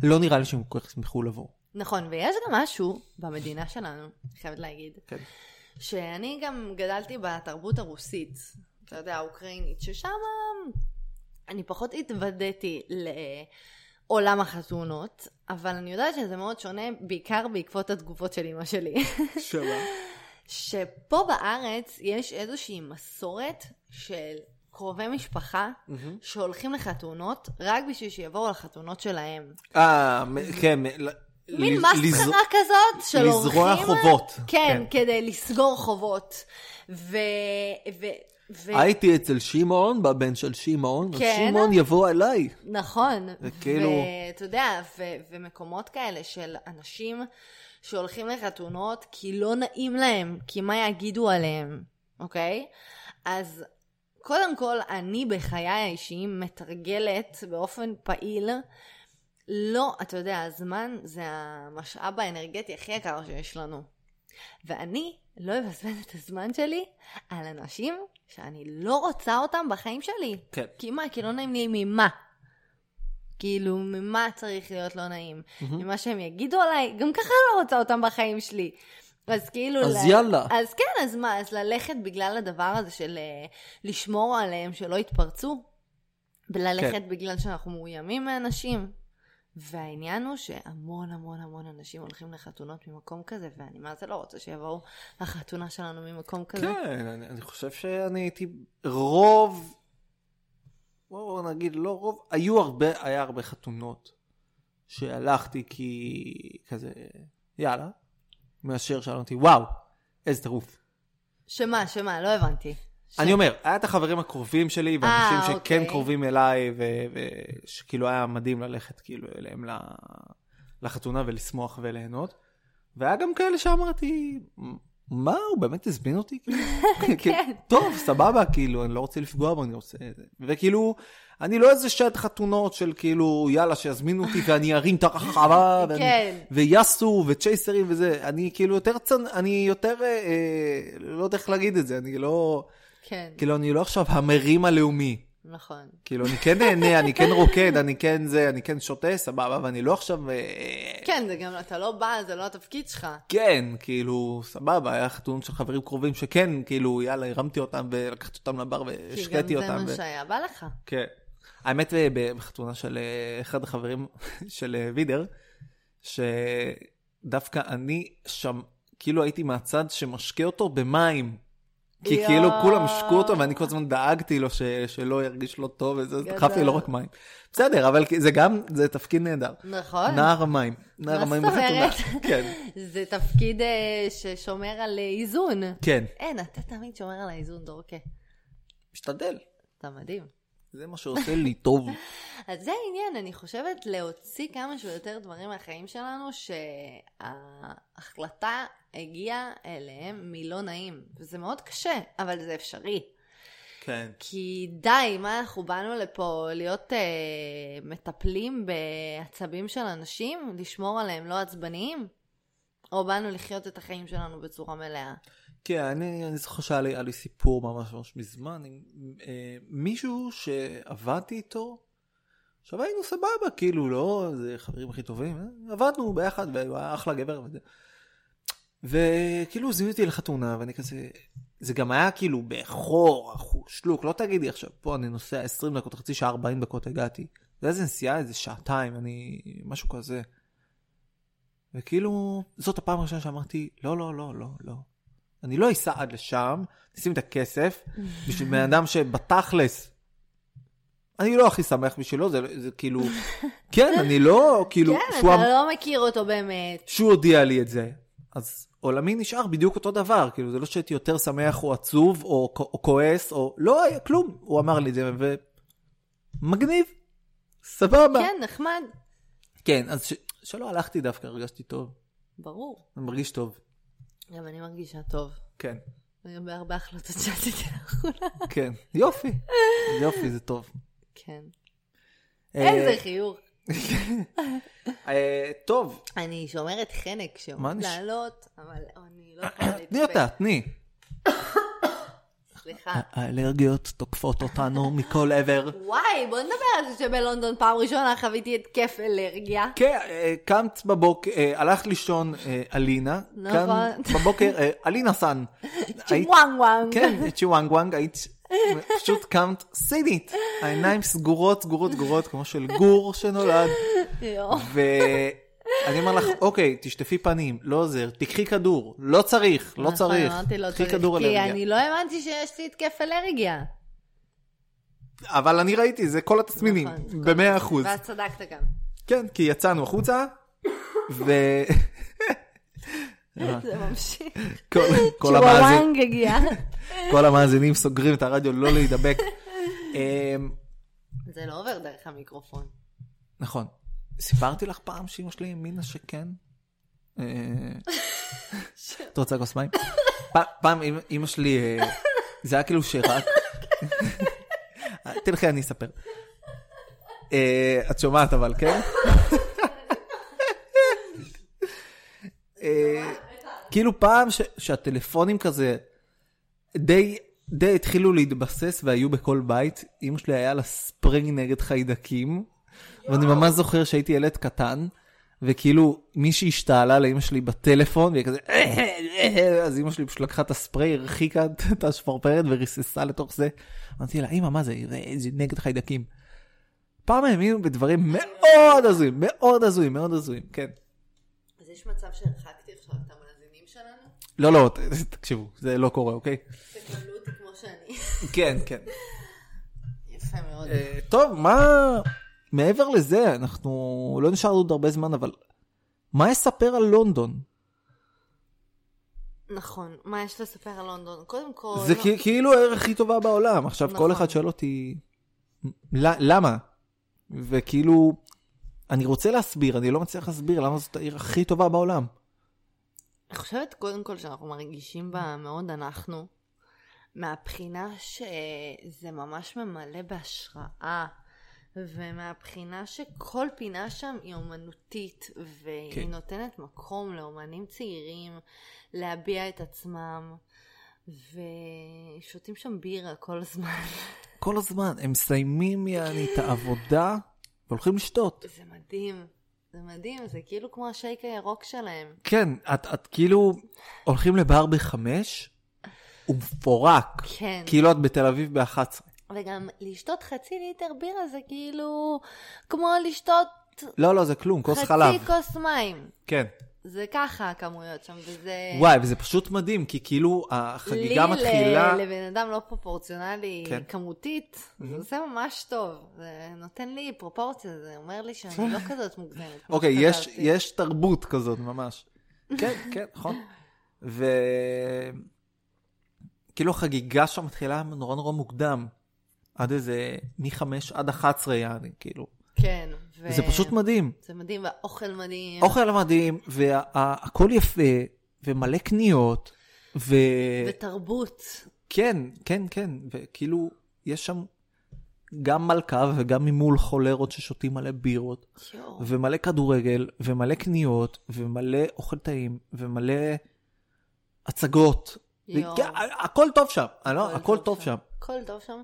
לא נראה לי שהם כל כך ישמחו לבוא.
נכון, ויש גם משהו במדינה שלנו, אני חייבת להגיד,
כן.
שאני גם גדלתי בתרבות הרוסית, אתה יודע, האוקראינית, ששם אני פחות התוודעתי לעולם החתונות, אבל אני יודעת שזה מאוד שונה, בעיקר בעקבות התגובות של אמא שלי. *laughs*
שמה?
שפה בארץ יש איזושהי מסורת של קרובי משפחה שהולכים לחתונות רק בשביל שיבואו לחתונות שלהם.
אה, מ- כן. מ- ל-
מין
לז-
מסחרה כזאת של אורחים.
לזרוע חובות.
כן, כדי לסגור חובות. ו... ו... ו...
הייתי אצל שמעון, בבן של שמעון, אז
כן.
שמעון יבוא אליי.
נכון.
וכאילו-
ואתה יודע, ו- ומקומות כאלה של אנשים שהולכים לחתונות כי לא נעים להם, כי מה יגידו עליהם, אוקיי? אז קודם כל, אני בחיי האישיים מתרגלת באופן פעיל. לא, אתה יודע, הזמן זה המשאב האנרגטי הכי יקר שיש לנו. ואני לא אבזבז את הזמן שלי על אנשים שאני לא רוצה אותם בחיים שלי.
כן.
כי מה? כי לא נעים לי ממה. כאילו, ממה צריך להיות לא נעים? ממה שהם יגידו עליי, גם ככה אני לא רוצה אותם בחיים שלי. אז כאילו...
אז יאללה.
אז כן, אז מה? אז ללכת בגלל הדבר הזה של אה, לשמור עליהם, שלא יתפרצו? וללכת
כן.
בגלל שאנחנו מאוימים מאנשים? והעניין הוא שהמון המון המון אנשים הולכים לחתונות ממקום כזה, ואני מה זה לא רוצה שיבואו לחתונה שלנו ממקום כזה.
כן, אני, אני חושב שאני הייתי רוב, בואו נגיד לא רוב, היו הרבה, היה הרבה חתונות שהלכתי כי כזה, יאללה, מאשר שאלתי, וואו, איזה טירוף.
שמה, שמה, לא הבנתי. ש-
אני אומר, היה את החברים הקרובים שלי, ואנשים
אה,
שכן
אוקיי.
קרובים אליי, ו- ושכאילו היה מדהים ללכת כאילו אליהם ל- לחתונה ולשמוח וליהנות. והיה גם כאלה שאמרתי, מה, הוא באמת הזמין אותי?
*laughs*
כאילו, כאילו,
כן.
טוב, סבבה, כאילו, אני לא רוצה לפגוע בו, אני רוצה... וכאילו, אני לא איזה שט חתונות של כאילו, יאללה, שיזמינו אותי ואני ארים את
*laughs*
הרחבה, ואני-
כן.
ויאסו וצ'ייסרים וזה, אני כאילו יותר צנ... אני יותר, אה, אה, לא יודע איך להגיד את זה, אני לא...
כן,
כאילו, אני לא עכשיו המרים הלאומי.
נכון.
כאילו, אני כן נהנה, אני כן רוקד, אני כן זה, אני כן שותה, סבבה, ואני לא עכשיו... אה,
כן, זה גם, אתה לא בא, זה לא התפקיד שלך.
כן, כאילו, סבבה, היה חתום של חברים קרובים שכן, כאילו, יאללה, הרמתי אותם ולקחתי אותם לבר
כי גם
והשקיתי
זה
אותם.
מה
ו-
שהיה בא לך.
כן. האמת, אה, בחתונה של אה, אחד החברים *laughs* של אה, וידר, שדווקא אני שם, כאילו הייתי מהצד שמשקה אותו במים. כי
יואו.
כאילו כולם השקו אותו, ואני כל הזמן דאגתי לו ש... שלא ירגיש לא טוב, וזה, אז
גדול.
דחפתי לו רק מים. בסדר, אבל כי- זה גם, זה תפקיד נהדר.
נכון.
נער המים. נער
מה
המים
זאת
בחתונה.
אומרת? *laughs*
כן,
זה תפקיד אה, ששומר על אה, איזון.
כן.
אין, אתה תמיד שומר על האיזון, דורקה.
משתדל.
אתה מדהים.
זה מה שעושה לי טוב.
אז זה העניין, אני חושבת להוציא כמה שיותר דברים מהחיים שלנו שההחלטה הגיעה אליהם מלא נעים. וזה מאוד קשה, אבל זה אפשרי.
*laughs* כן.
כי די, מה אנחנו באנו לפה להיות אה, מטפלים בעצבים של אנשים? לשמור עליהם לא עצבניים? או באנו לחיות את החיים שלנו בצורה מלאה?
כן, אני, אני זוכר שהיה לי, היה לי סיפור ממש ממש מזמן עם אה, מישהו שעבדתי איתו, עכשיו היינו סבבה, כאילו, לא, זה חברים הכי טובים, אה? עבדנו ביחד, והוא היה אחלה גבר וזה. וכאילו זיהו אותי לחתונה, ואני כזה, זה גם היה כאילו בחור, אחו- שלוק, לא תגידי עכשיו, פה אני נוסע 20 דקות, חצי שעה, 40 דקות הגעתי. זה איזה נסיעה, איזה שעתיים, אני, משהו כזה. וכאילו, זאת הפעם הראשונה שאמרתי, לא, לא, לא, לא, לא. אני לא אסע עד לשם, נשים את הכסף, בשביל בן אדם שבתכלס, אני לא הכי שמח בשבילו, זה, זה כאילו, כן, אני לא, כאילו,
כן,
שהוא
אתה
אמ-
לא מכיר אותו באמת.
שהוא הודיע לי את זה. אז עולמי נשאר בדיוק אותו דבר, כאילו זה לא שהייתי יותר שמח או עצוב או, כ- או כועס או לא היה כלום, הוא אמר לי את זה ו... מגניב, סבבה.
כן, נחמד.
כן, אז ש... שלא הלכתי דווקא, הרגשתי טוב,
ברור.
אני מרגיש טוב.
גם אני מרגישה טוב.
כן,
וגם בהרבה החלטות שעשיתי לאחרונה.
כן, יופי, יופי זה טוב.
כן.
אה,
איזה חיוך.
אה, טוב,
אני שומרת חנק שעומד
נש-
לעלות, אבל אני לא יכולה להתאפק.
תני אותה, תני.
סליחה.
אה, האלרגיות תוקפות אותנו מכל עבר.
וואי, בוא נדבר על זה שבלונדון פעם ראשונה חוויתי התקף אלרגיה.
כן, אה, קמת בבוקר, אה, הלכת לישון אה, אלינה,
נכון.
קמת בבוקר, אה, אלינה
*laughs*
סאן. היית-
צ'יוואן וואן.
כן, צ'וואנגוואנג, היית פשוט קמת סינית, העיניים סגורות, סגורות, סגורות, כמו של גור שנולד, ואני אומר לך, אוקיי, תשטפי פנים, לא עוזר, תיקחי כדור, לא צריך, לא צריך,
אמרתי לא
תיקחי
צריך,
כדור
כי
אלרגיה.
אני לא האמנתי שיש לי התקף אלרגיה.
אבל אני ראיתי, זה כל התסמינים,
נכון, כל
במאה אחוז.
ואז צדקת גם.
כן, כי יצאנו החוצה, ו... *laughs*
זה ממשיך.
אה. כל- כל המאזינים.
צ'יוואן הגיע.
כל המאזינים סוגרים את הרדיו לא להידבק. אמ,
זה לא עובר דרך המיקרופון.
נכון. סיפרתי לך פעם שאמא שלי האמינה שכן? אה, את רוצה כוס מים? פ- פעם אמא- אמא שלי, אה, זה היה כאילו שרק... תלכי, אני אספר. אה, את שומעת אבל, כן? אה, כאילו פעם ש- שהטלפונים כזה די, די התחילו להתבסס והיו בכל בית. אמא שלי היה לה ספרינג נגד חיידקים, ואני ממש זוכר שהייתי ילד קטן, וכאילו מישהי השתעלה לאמא שלי בטלפון, והיא כזה, "אה, אה, אה", אז אמא שלי פשוט לקחה את הספריי, הרחיקה את- את השפרפרת וריססה לתוך זה. אמרתי לה, אמא, מה זה? זה- זה נגד חיידקים. פעם האמינו בדברים מאוד הזויים, מאוד הזויים, מאוד הזויים, כן.
אז יש מצב שהרחקתי עכשיו את המאזינים שלנו?
לא, לא, ת- תקשיבו, זה לא קורה, אוקיי?
תקבלו אותי כמו שאני.
כן, כן.
יפה מאוד.
אה, טוב, מה... מעבר לזה, אנחנו... לא נשאר עוד הרבה זמן, אבל... מה אספר על לונדון?
נכון, מה יש לספר על לונדון? קודם כל...
זה
לא.
כי- כאילו העיר הכי טובה בעולם. עכשיו,
נכון.
כל אחד שואל אותי, "ל- למה? וכאילו, אני רוצה להסביר, אני לא מצליח להסביר למה זאת העיר הכי טובה בעולם.
אני חושבת קודם כל שאנחנו מרגישים בה מאוד אנחנו, מהבחינה שזה ממש ממלא בהשראה, ומהבחינה שכל פינה שם היא אומנותית, והיא
כן.
כן. נותנת מקום לאומנים צעירים להביע את עצמם, ושותים שם בירה כל הזמן. *laughs*
כל הזמן, הם מסיימים יעני את העבודה והולכים לשתות.
זה מדהים, זה מדהים, זה כאילו כמו השייק הירוק שלהם.
כן, את, את כאילו הולכים לבר בחמש, הוא מפורק.
כן.
כאילו את בתל אביב ב-11.
וגם לשתות חצי ליטר בירה זה כאילו כמו לשתות
לא, לא, זה כלום, כוס
חצי
חלב.
חצי כוס מים.
כן.
זה ככה הכמויות שם, וזה...
וואי, וזה פשוט מדהים, כי כאילו החגיגה
כן. לי
מתחילה...
ל... לבן אדם לא פרופורציונלי
כן. Mm-hmm.
כן. כמותית, זה עושה ממש טוב. זה נותן לי פרופורציה, זה אומר לי שאני
*laughs*
לא כזאת מוגזמת. כמו
אוקיי, יש,
שחשבתי.
יש תרבות כזאת ממש. כן, כן, נכון. ו... כאילו החגיגה שם מתחילה נורא נורא מוקדם. עד איזה מ-5 עד 11 יעני, כאילו.
כן. ו...
זה פשוט אוקיי. מדהים.
זה מדהים, והאוכל מדהים.
אוכל מדהים, והכל יפה, ומלא קניות, ו...
ותרבות.
כן, כן, כן, וכאילו, יש שם גם מלכה וגם ממול חולרות ששותים מלא בירות,
יואו.
ומלא כדורגל, ומלא קניות, ומלא אוכל טעים, ומלא הצגות.
יואו.
וכן, הכל טוב שם, אני לא- הכל טוב שם.
הכל טוב שם.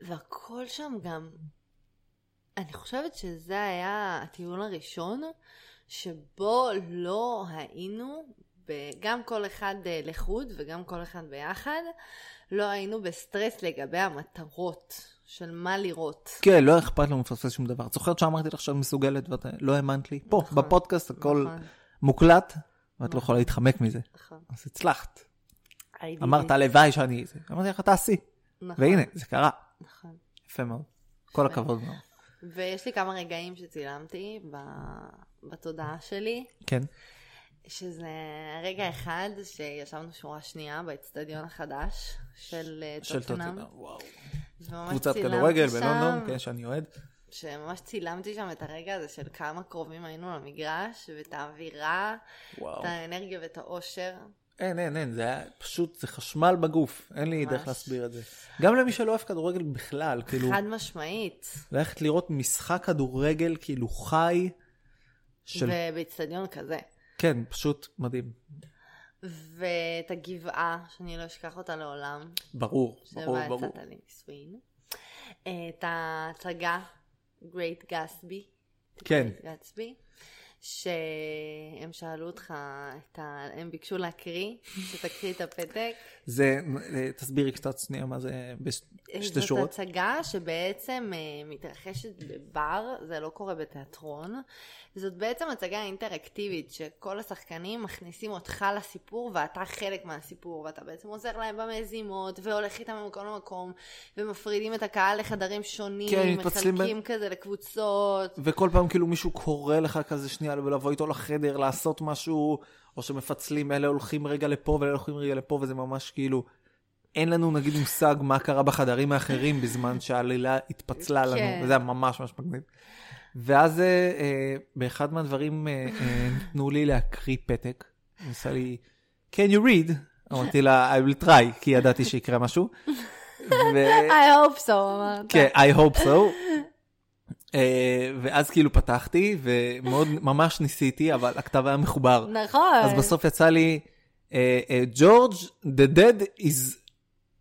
והכל שם גם... אני חושבת שזה היה הטיול הראשון שבו לא היינו, ב... גם כל אחד אה, לחוד וגם כל אחד ביחד, לא היינו בסטרס לגבי המטרות של מה לראות.
כן, לא אכפת לנו לפספס שום דבר. את זוכרת שאמרתי לך שאת מסוגלת ואת לא האמנת לי? פה,
נכון,
בפודקאסט הכל
נכון,
מוקלט, ואת לא יכולה להתחמק מזה.
נכון.
אז הצלחת.
הייתי-
אמרת, הלוואי שאני... זה." אמרתי לך, תעשי.
נכון,
והנה, זה קרה.
נכון.
יפה מאוד. כל הכבוד מאוד.
ויש לי כמה רגעים שצילמתי ב- בתודעה שלי.
כן.
שזה
אה.
רגע אחד שישבנו שורה שנייה באצטדיון החדש של אה,
של
טוטנאם.
טוטנאם. וואו.
וממש
קבוצת
צילמתי
כדורגל
שם-
בלונדון, כן, שאני אוהד.
שממש צילמתי שם את הרגע הזה של כמה קרובים היינו למגרש, ואת האווירה,
וואו.
את האנרגיה ואת האושר.
אין, אין, אין, זה היה פשוט, זה חשמל בגוף. אין לי
ממש.
דרך להסביר את זה. גם למי שלא אוהב כדורגל בכלל, כאילו,
חד משמעית.
ללכת לראות משחק כדורגל כאילו חי, של...
ובאצטדיון כזה.
כן, פשוט מדהים.
ואת הגבעה, שאני לא אשכח אותה לעולם,
ברור, ברור,
שבה
ברור.
יצאת לנישואין. את ההצגה, Great Gatsby.
כן,
גצבי, שהם שאלו אותך, את ה... הם ביקשו להקריא, *laughs* שתקריא את הפתק.
זה, אה, תסבירי קצת שנייה מה זה בשתי שורות.
אה, זאת הצגה שבעצם אה, מתרחשת בבר, זה לא קורה בתיאטרון. זאת בעצם הצגה אינטראקטיבית, שכל השחקנים מכניסים אותך לסיפור, ואתה חלק מהסיפור, ואתה בעצם עוזר להם במזימות, והולך איתם ממקום למקום, ומפרידים את הקהל לחדרים שונים,
כן, מתפצלים בין-
מחלקים כזה לקבוצות,
וכל פעם כאילו מישהו קורא לך כזה שנייה לבוא איתו לחדר לעשות משהו, או שמפצלים, אלה הולכים רגע לפה ואלה הולכים רגע לפה, וזה ממש כאילו, אין לנו נגיד מושג מה קרה בחדרים האחרים
*laughs*
בזמן שהעלילה התפצלה לנו,
כן.
וזה היה ממש ממש מגניב. ואז אה, אה, באחד מהדברים אה, אה, נתנו לי להקריא פתק, ניסה לי, can you read? אמרתי לה, I will try, כי ידעתי שיקרה
*laughs*
משהו. ו-
I hope so, אמרת.
אה,
*laughs*
כן, I hope so. אה, ואז כאילו פתחתי, ומאוד ממש ניסיתי, אבל הכתב היה מחובר.
נכון.
אז בסוף יצא לי, אה, אה, ג'ורג', the dead is...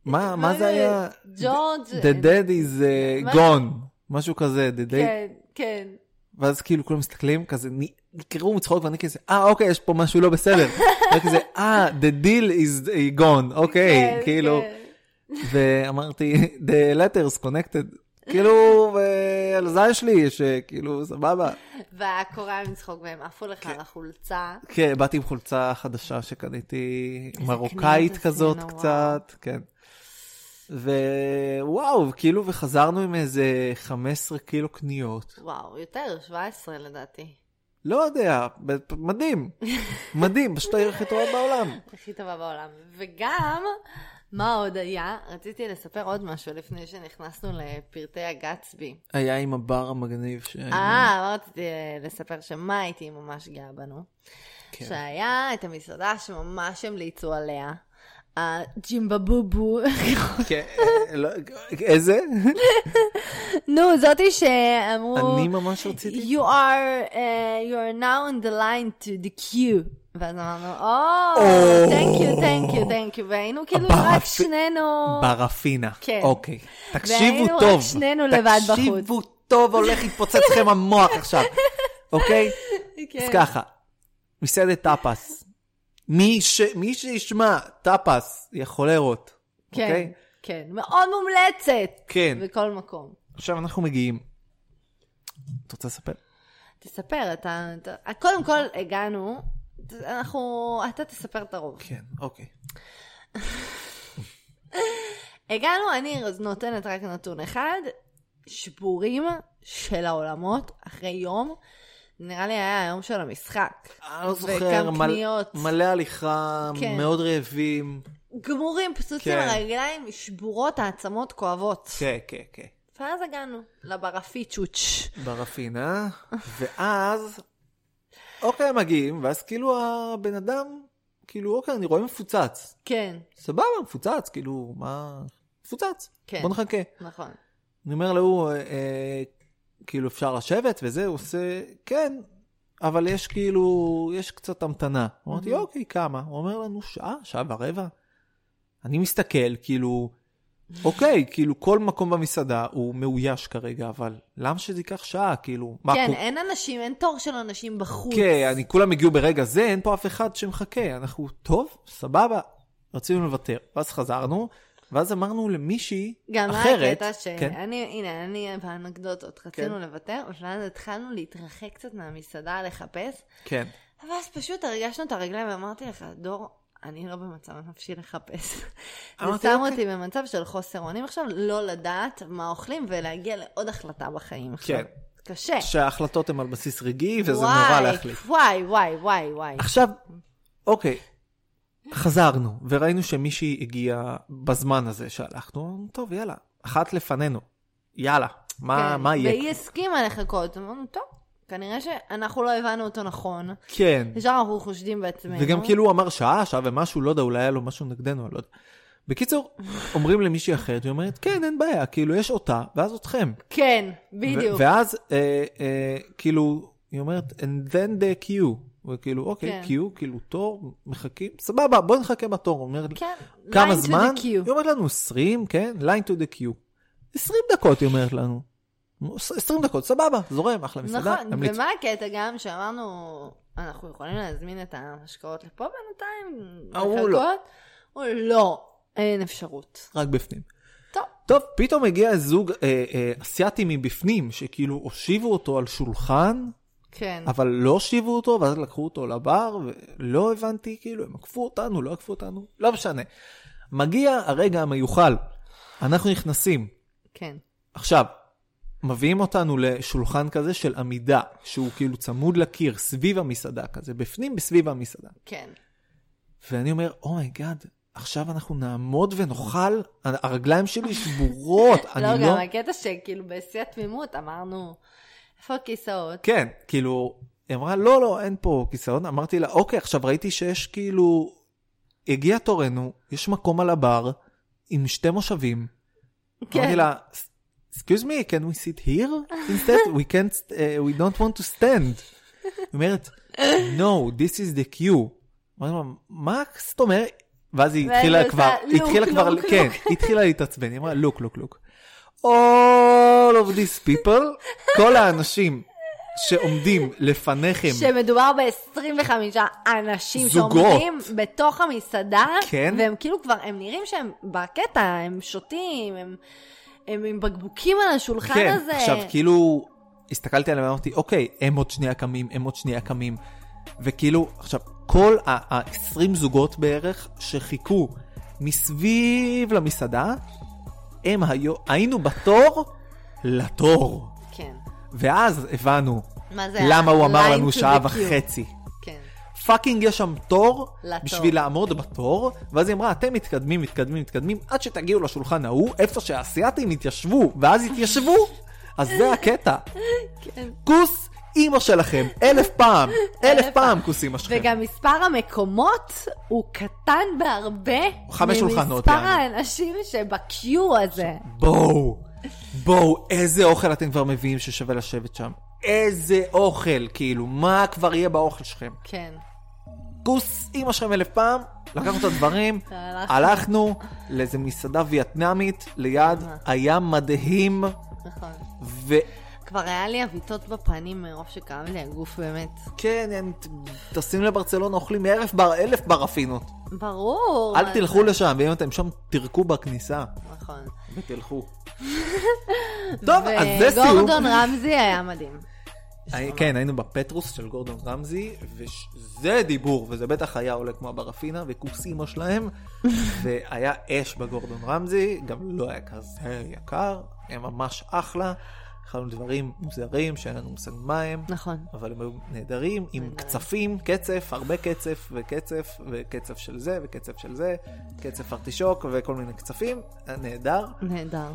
מה, מה זה היה?
ג'ורג'...
The dead is אה,
אה, מה?
gone, משהו כזה, the dead.
כן, כן.
ואז כאילו כולם מסתכלים, כזה נ- נקרעו מצחוק, ואני כזה, אה, אוקיי, יש פה משהו לא
*laughs*
בסדר. ואני כזה, אה, the deal is אה, gone, אוקיי,
כן,
כאילו.
כן.
ואמרתי, the letters connected. כאילו, ועל זה יש לי, שכאילו, סבבה.
והקורא היה מצחוק והם עפו לך על החולצה.
כן, באתי עם חולצה חדשה שקניתי,
איזה
מרוקאית
קניות
כזאת
עשינו,
קצת, כן. ווואו, כאילו, וחזרנו עם איזה 15 קילו קניות.
וואו, יותר, 17 לדעתי.
לא יודע, ב-
*laughs*
מדהים. מדהים, פשוט העיר הכי טובה בעולם.
הכי טובה בעולם. וגם, מה עוד היה? רציתי לספר עוד משהו לפני שנכנסנו לפרטי הגצבי.
היה עם הבר המגניב שהיינו.
אה, רציתי אה, לספר שמה הייתי ממש גאה בנו.
כן.
שהיה את המסעדה שממש המליצו עליה. הג'ימבבובו. *laughs*
כן, לא, איזה?
נו, זאתי שאמרו...
אני ממש רציתי.
You are, uh, you are now in the line to the queue. ואז אמרנו, או,
או.
thank you, thank you, thank you, והיינו כאילו
ברפי-
רק שנינו,
ברפינה.
כן.
אוקיי. תקשיבו
והיינו
טוב.
רק שנינו לבד בחוץ.
תקשיבו טוב, הולך
*laughs*
להתפוצץ לכם המוח עכשיו, אוקיי?
כן.
אז ככה, מסעדת טאפס. מי ש- מי שישמע טאפס יכול לראות,
כן,
אוקיי?
כן, מאוד מומלצת,
כן.
בכל מקום.
עכשיו אנחנו מגיעים. את רוצה לספר?
תספר, אתה, אתה, קודם כל הגענו, ת- אנחנו, אתה תספר את הרוב.
כן, אוקיי.
הגענו, אני אז נותנת רק נתון אחד, שבורים של העולמות, אחרי יום, נראה לי היה היום של המשחק.
אני לא זוכר,
וגם
מל-
קניות.
מלא הליכה,
כן.
מאוד רעבים.
גמורים, פצוצים,
כן.
הרגליים שבורות, העצמות כואבות.
כן, כן, כן.
ואז הגענו לברפיצ'וץ'.
ברפינה, ואז, אוקיי, מגיעים, ואז כאילו הבן אדם כאילו, אוקיי, אני רואה מפוצץ.
כן,
סבבה, מפוצץ, כאילו, מה... מפוצץ.
כן.
בוא נחכה.
נכון.
אני אומר להוא, אה, אה, כאילו, אפשר לשבת וזה, הוא עושה, כן, אבל יש כאילו, יש קצת המתנה. אמרתי,
Mhm.
אוקיי, כמה? הוא אומר לנו, שעה, שעה ורבע. אני מסתכל, כאילו, אוקיי, כאילו, כל מקום במסעדה הוא מאויש כרגע, אבל למה שזה ייקח שעה? כאילו, מה,
כן,
כל-
אין אנשים, אין תור של אנשים בחוץ.
כן, אני, כולם הגיעו ברגע זה, אין פה אף אחד שמחכה. אנחנו, טוב, סבבה, רצינו לוותר. ואז חזרנו, ואז אמרנו למישהי
גם מה
אחרת,
הקטע ש...
כן.
אני, הנה, אני באנקדוטות רצינו לוותר, ואז התחלנו להתרחק קצת מהמסעדה לחפש,
כן,
אבל אז פשוט הרגשנו את הרגליים ואמרתי לך, דור, אני לא במצב נפשי לחפש. זה
אמרתי,
שם
"אוקיי."
אותי במצב של חוסר אונים עכשיו, לא לדעת מה אוכלים ולהגיע לעוד החלטה בחיים עכשיו.
כן.
קשה.
שההחלטות הן על בסיס רגעי, וזה נורא
וואי,
להחליט.
וואי, וואי, וואי, וואי.
עכשיו, אוקיי, חזרנו, וראינו שמישהי הגיעה בזמן הזה שהלכנו, אמרנו, טוב, יאללה, אחת לפנינו, יאללה, מה,
כן,
מה יהיה?
והיא הסכימה לחכות. אמרנו, טוב, כנראה שאנחנו לא הבנו אותו נכון.
כן,
ישר אנחנו חושדים בעצמנו.
וגם כאילו הוא אמר שעה, שעה ומשהו, לא יודע, אולי היה לו משהו נגדנו, אני לא יודע.
*laughs*
בקיצור, אומרים למישהי אחרת, היא אומרת, כן, אין בעיה, כאילו, יש אותה, ואז אתכם.
כן,
ו-
בדיוק.
ואז, אה, אה, כאילו, היא אומרת, and then the queue. וכאילו, אוקיי,
כן.
queue, כאילו, תור, מחכים, סבבה, בוא נחכה בתור. הוא אומר,
כן,
כמה
line to the
זמן?
queue.
היא אומרת לנו 20, כן? line to the queue. 20 דקות, היא אומרת לנו. 20 דקות, סבבה, זורם, אחלה מסעדה,
נכון,
נמליץ.
ומה הקטע גם שאמרנו, אנחנו יכולים להזמין את ההשקעות לפה בינתיים?
ההוא לא.
לחכות?" הוא לא, אין אפשרות.
רק בפנים.
טוב,
טוב, פתאום הגיע זוג אה, אה, אסיאתי מבפנים, שכאילו הושיבו אותו על שולחן,
כן.
אבל לא הושיבו אותו, ואז לקחו אותו לבר, ולא הבנתי, כאילו, הם עקפו אותנו, לא עקפו אותנו, לא משנה. מגיע הרגע המיוחל, אנחנו נכנסים.
כן.
עכשיו, מביאים אותנו לשולחן כזה של עמידה, שהוא כאילו צמוד לקיר, סביב המסעדה כזה, בפנים בסביב המסעדה.
כן.
ואני אומר, אומייגאד, עכשיו אנחנו נעמוד ונאכל, הרגליים שלי שבורות, אני
*laughs* לא,
לא...
גם הקטע שכאילו בשיא התמימות אמרנו, איפה הכיסאות?
כן, כאילו, היא אמרה, לא, לא, אין פה כיסאון. אמרתי לה, אוקיי, עכשיו ראיתי שיש כאילו, הגיע תורנו, יש מקום על הבר, עם שתי מושבים.
כן.
אמרתי לה, excuse me, can we sit here? instead we can't, st- uh, we don't want to stand. היא אומרת, no, this is the queue. אמרתי לה, מה זאת אומרת? ואז היא
ואז
התחילה
היא
כבר,
עושה,
היא
"Look,
התחילה כבר,
look,
כן,
look.
היא התחילה להתעצבן, היא אמרה, look, look, look. All of these people, כל האנשים שעומדים לפניכם,
שמדובר ב-25 אנשים
זוגות.
שעומדים בתוך המסעדה,
כן.
והם כאילו כבר, הם נראים שהם בקטע, הם שותים, הם, הם עם בקבוקים על השולחן
כן,
הזה.
עכשיו כאילו, הסתכלתי עליהם ואמרתי, אוקיי, הם עוד שנייה קמים, הם עוד שנייה קמים. וכאילו, עכשיו, כל ה-20 זוגות בערך שחיכו מסביב למסעדה, הם היו, היינו בתור לתור.
כן,
ואז הבנו
מה זה
למה הוא אמר
ה-
לנו
line to
שעה
the queue?
וחצי.
כן.
פאקינג יש שם תור
לתור.
בשביל לעמוד בתור, ואז היא אמרה, אתם מתקדמים, מתקדמים, מתקדמים, עד שתגיעו לשולחן ההוא, איפה שהאסייתים התיישבו, ואז התיישבו. אז זה הקטע.
כן.
כוס אימא שלכם, אלף פעם, אלף פעם כוס אימא שלכם.
וגם מספר המקומות הוא קטן בהרבה
חמש שולחנות,
ממספר
יעני.
האנשים שבקיו הזה.
בואו, בואו, איזה אוכל אתם כבר מביאים ששווה לשבת שם. איזה אוכל, כאילו, מה כבר יהיה באוכל שלכם?
כן.
כוס אימא שלכם אלף פעם, לקחנו את הדברים,
*laughs* הלכנו.
הלכנו לאיזה מסעדה וייטנאמית ליד, היה מדהים,
נכון.
וכן,
כבר היה לי עוויתות בפנים מרוב שכאב לי הגוף באמת.
הם טסים לברצלונה, אוכלים אלף, בר, אלף ברפינות.
ברור.
אל תלכו לשם, ואם אתם שם, תירקו בכניסה,
נכון.
ותלכו. טוב, אז זה סיום.
וגורדון רמזי היה מדהים.
הי- כן, היינו בפטרוס של גורדון רמזי, וזה דיבור, וזה בטח היה עולה כמו הברפינה, וכוס אימא שלהם, והיה אש בגורדון רמזי, גם לא היה כזה יקר, היה ממש אחלה, אכלנו דברים מוזרים שאין לנו מושג מה הם,
נכון.
אבל הם היו נהדרים, עם קצפים, קצף, הרבה קצף, וקצף, וקצף של זה, וקצף של זה, קצף ארטישוק, וכל מיני קצפים, היה נהדר,
נהדר.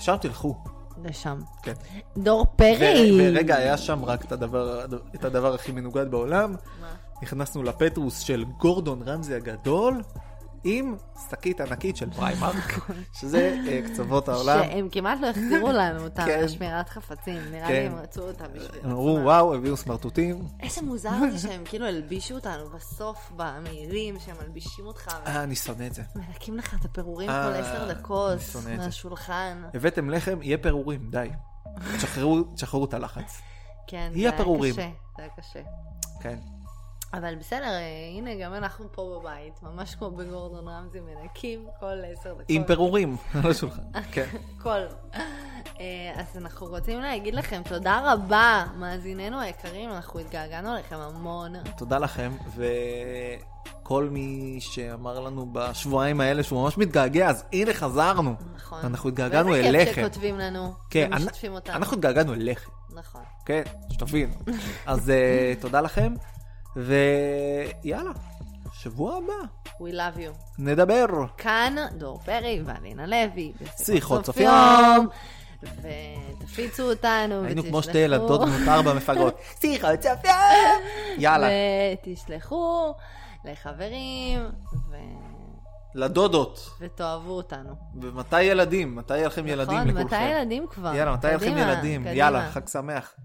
שם תלכו,
לשם.
כן.
אה, דור
ו-
פרי. אוקיי.
ורגע, היה שם רק את הדבר, את הדבר הכי מנוגד בעולם.
מה?
נכנסנו לפטרוס של גורדון רמזי הגדול, עם שקית ענקית של פריימרק, שזה אה, קצוות העולם.
שהם כמעט לא החזירו לנו אותם
כן.
לשמירת חפצים, נראה לי
כן.
הם רצו אותם בשביל
הם אמרו,
עצמם.
וואו, הביאו סמרטוטים.
איזה מוזר זה שהם כאילו הלבישו אותנו בסוף במהירים, שהם מלבישים אותך
אה, אני שונא את זה.
ומנקים לך את הפירורים
אה,
כל עשר דקות
אני שונא את זה.
מהשולחן.
הבאתם לחם, יהיה פירורים, די. תשחררו, תשחררו את הלחץ.
כן,
היא
זה היה
הפירורים.
קשה, זה היה קשה.
כן.
אבל בסדר, אה, הנה גם אנחנו פה בבית, ממש כמו בגורדון רמזי, מנקים כל עשר דקות.
עם פירורים *laughs* על השולחן. כן.
כל. אה, אז אנחנו רוצים להגיד לכם תודה רבה, מאזיננו היקרים, אנחנו התגעגענו אליכם המון.
תודה לכם, וכל מי שאמר לנו בשבועיים האלה שהוא ממש מתגעגע, אז הנה חזרנו.
נכון.
אנחנו התגעגענו
ואיזה כיף
אליכם.
שכותבים לנו,
כן, אנ-
ומשתפים אותנו.
אנחנו התגעגענו אליכם,
נכון.
כן,
*laughs*
שתבין. אז אה, תודה לכם, ויאללה, שבוע הבא,
We love you.
נדבר.
כאן דור פרי ואלינה לוי.
שיחות סוף יום.
ותפיצו אותנו.
היינו כמו שתי
ותשלחו-
ילדות בנות ארבע מפגרות.
*laughs*
שיחות שפיים! יאללה,
ותשלחו לחברים, ו...
לדודות.
ותאהבו אותנו.
ומתי ילדים? מתי יהיה לכם ילדים
נכון?
לכולכם?
מתי ילדים כבר?
יאללה, מתי יהיה לכם
קדימה,
ילדים?
קדימה.
יאללה, חג שמח.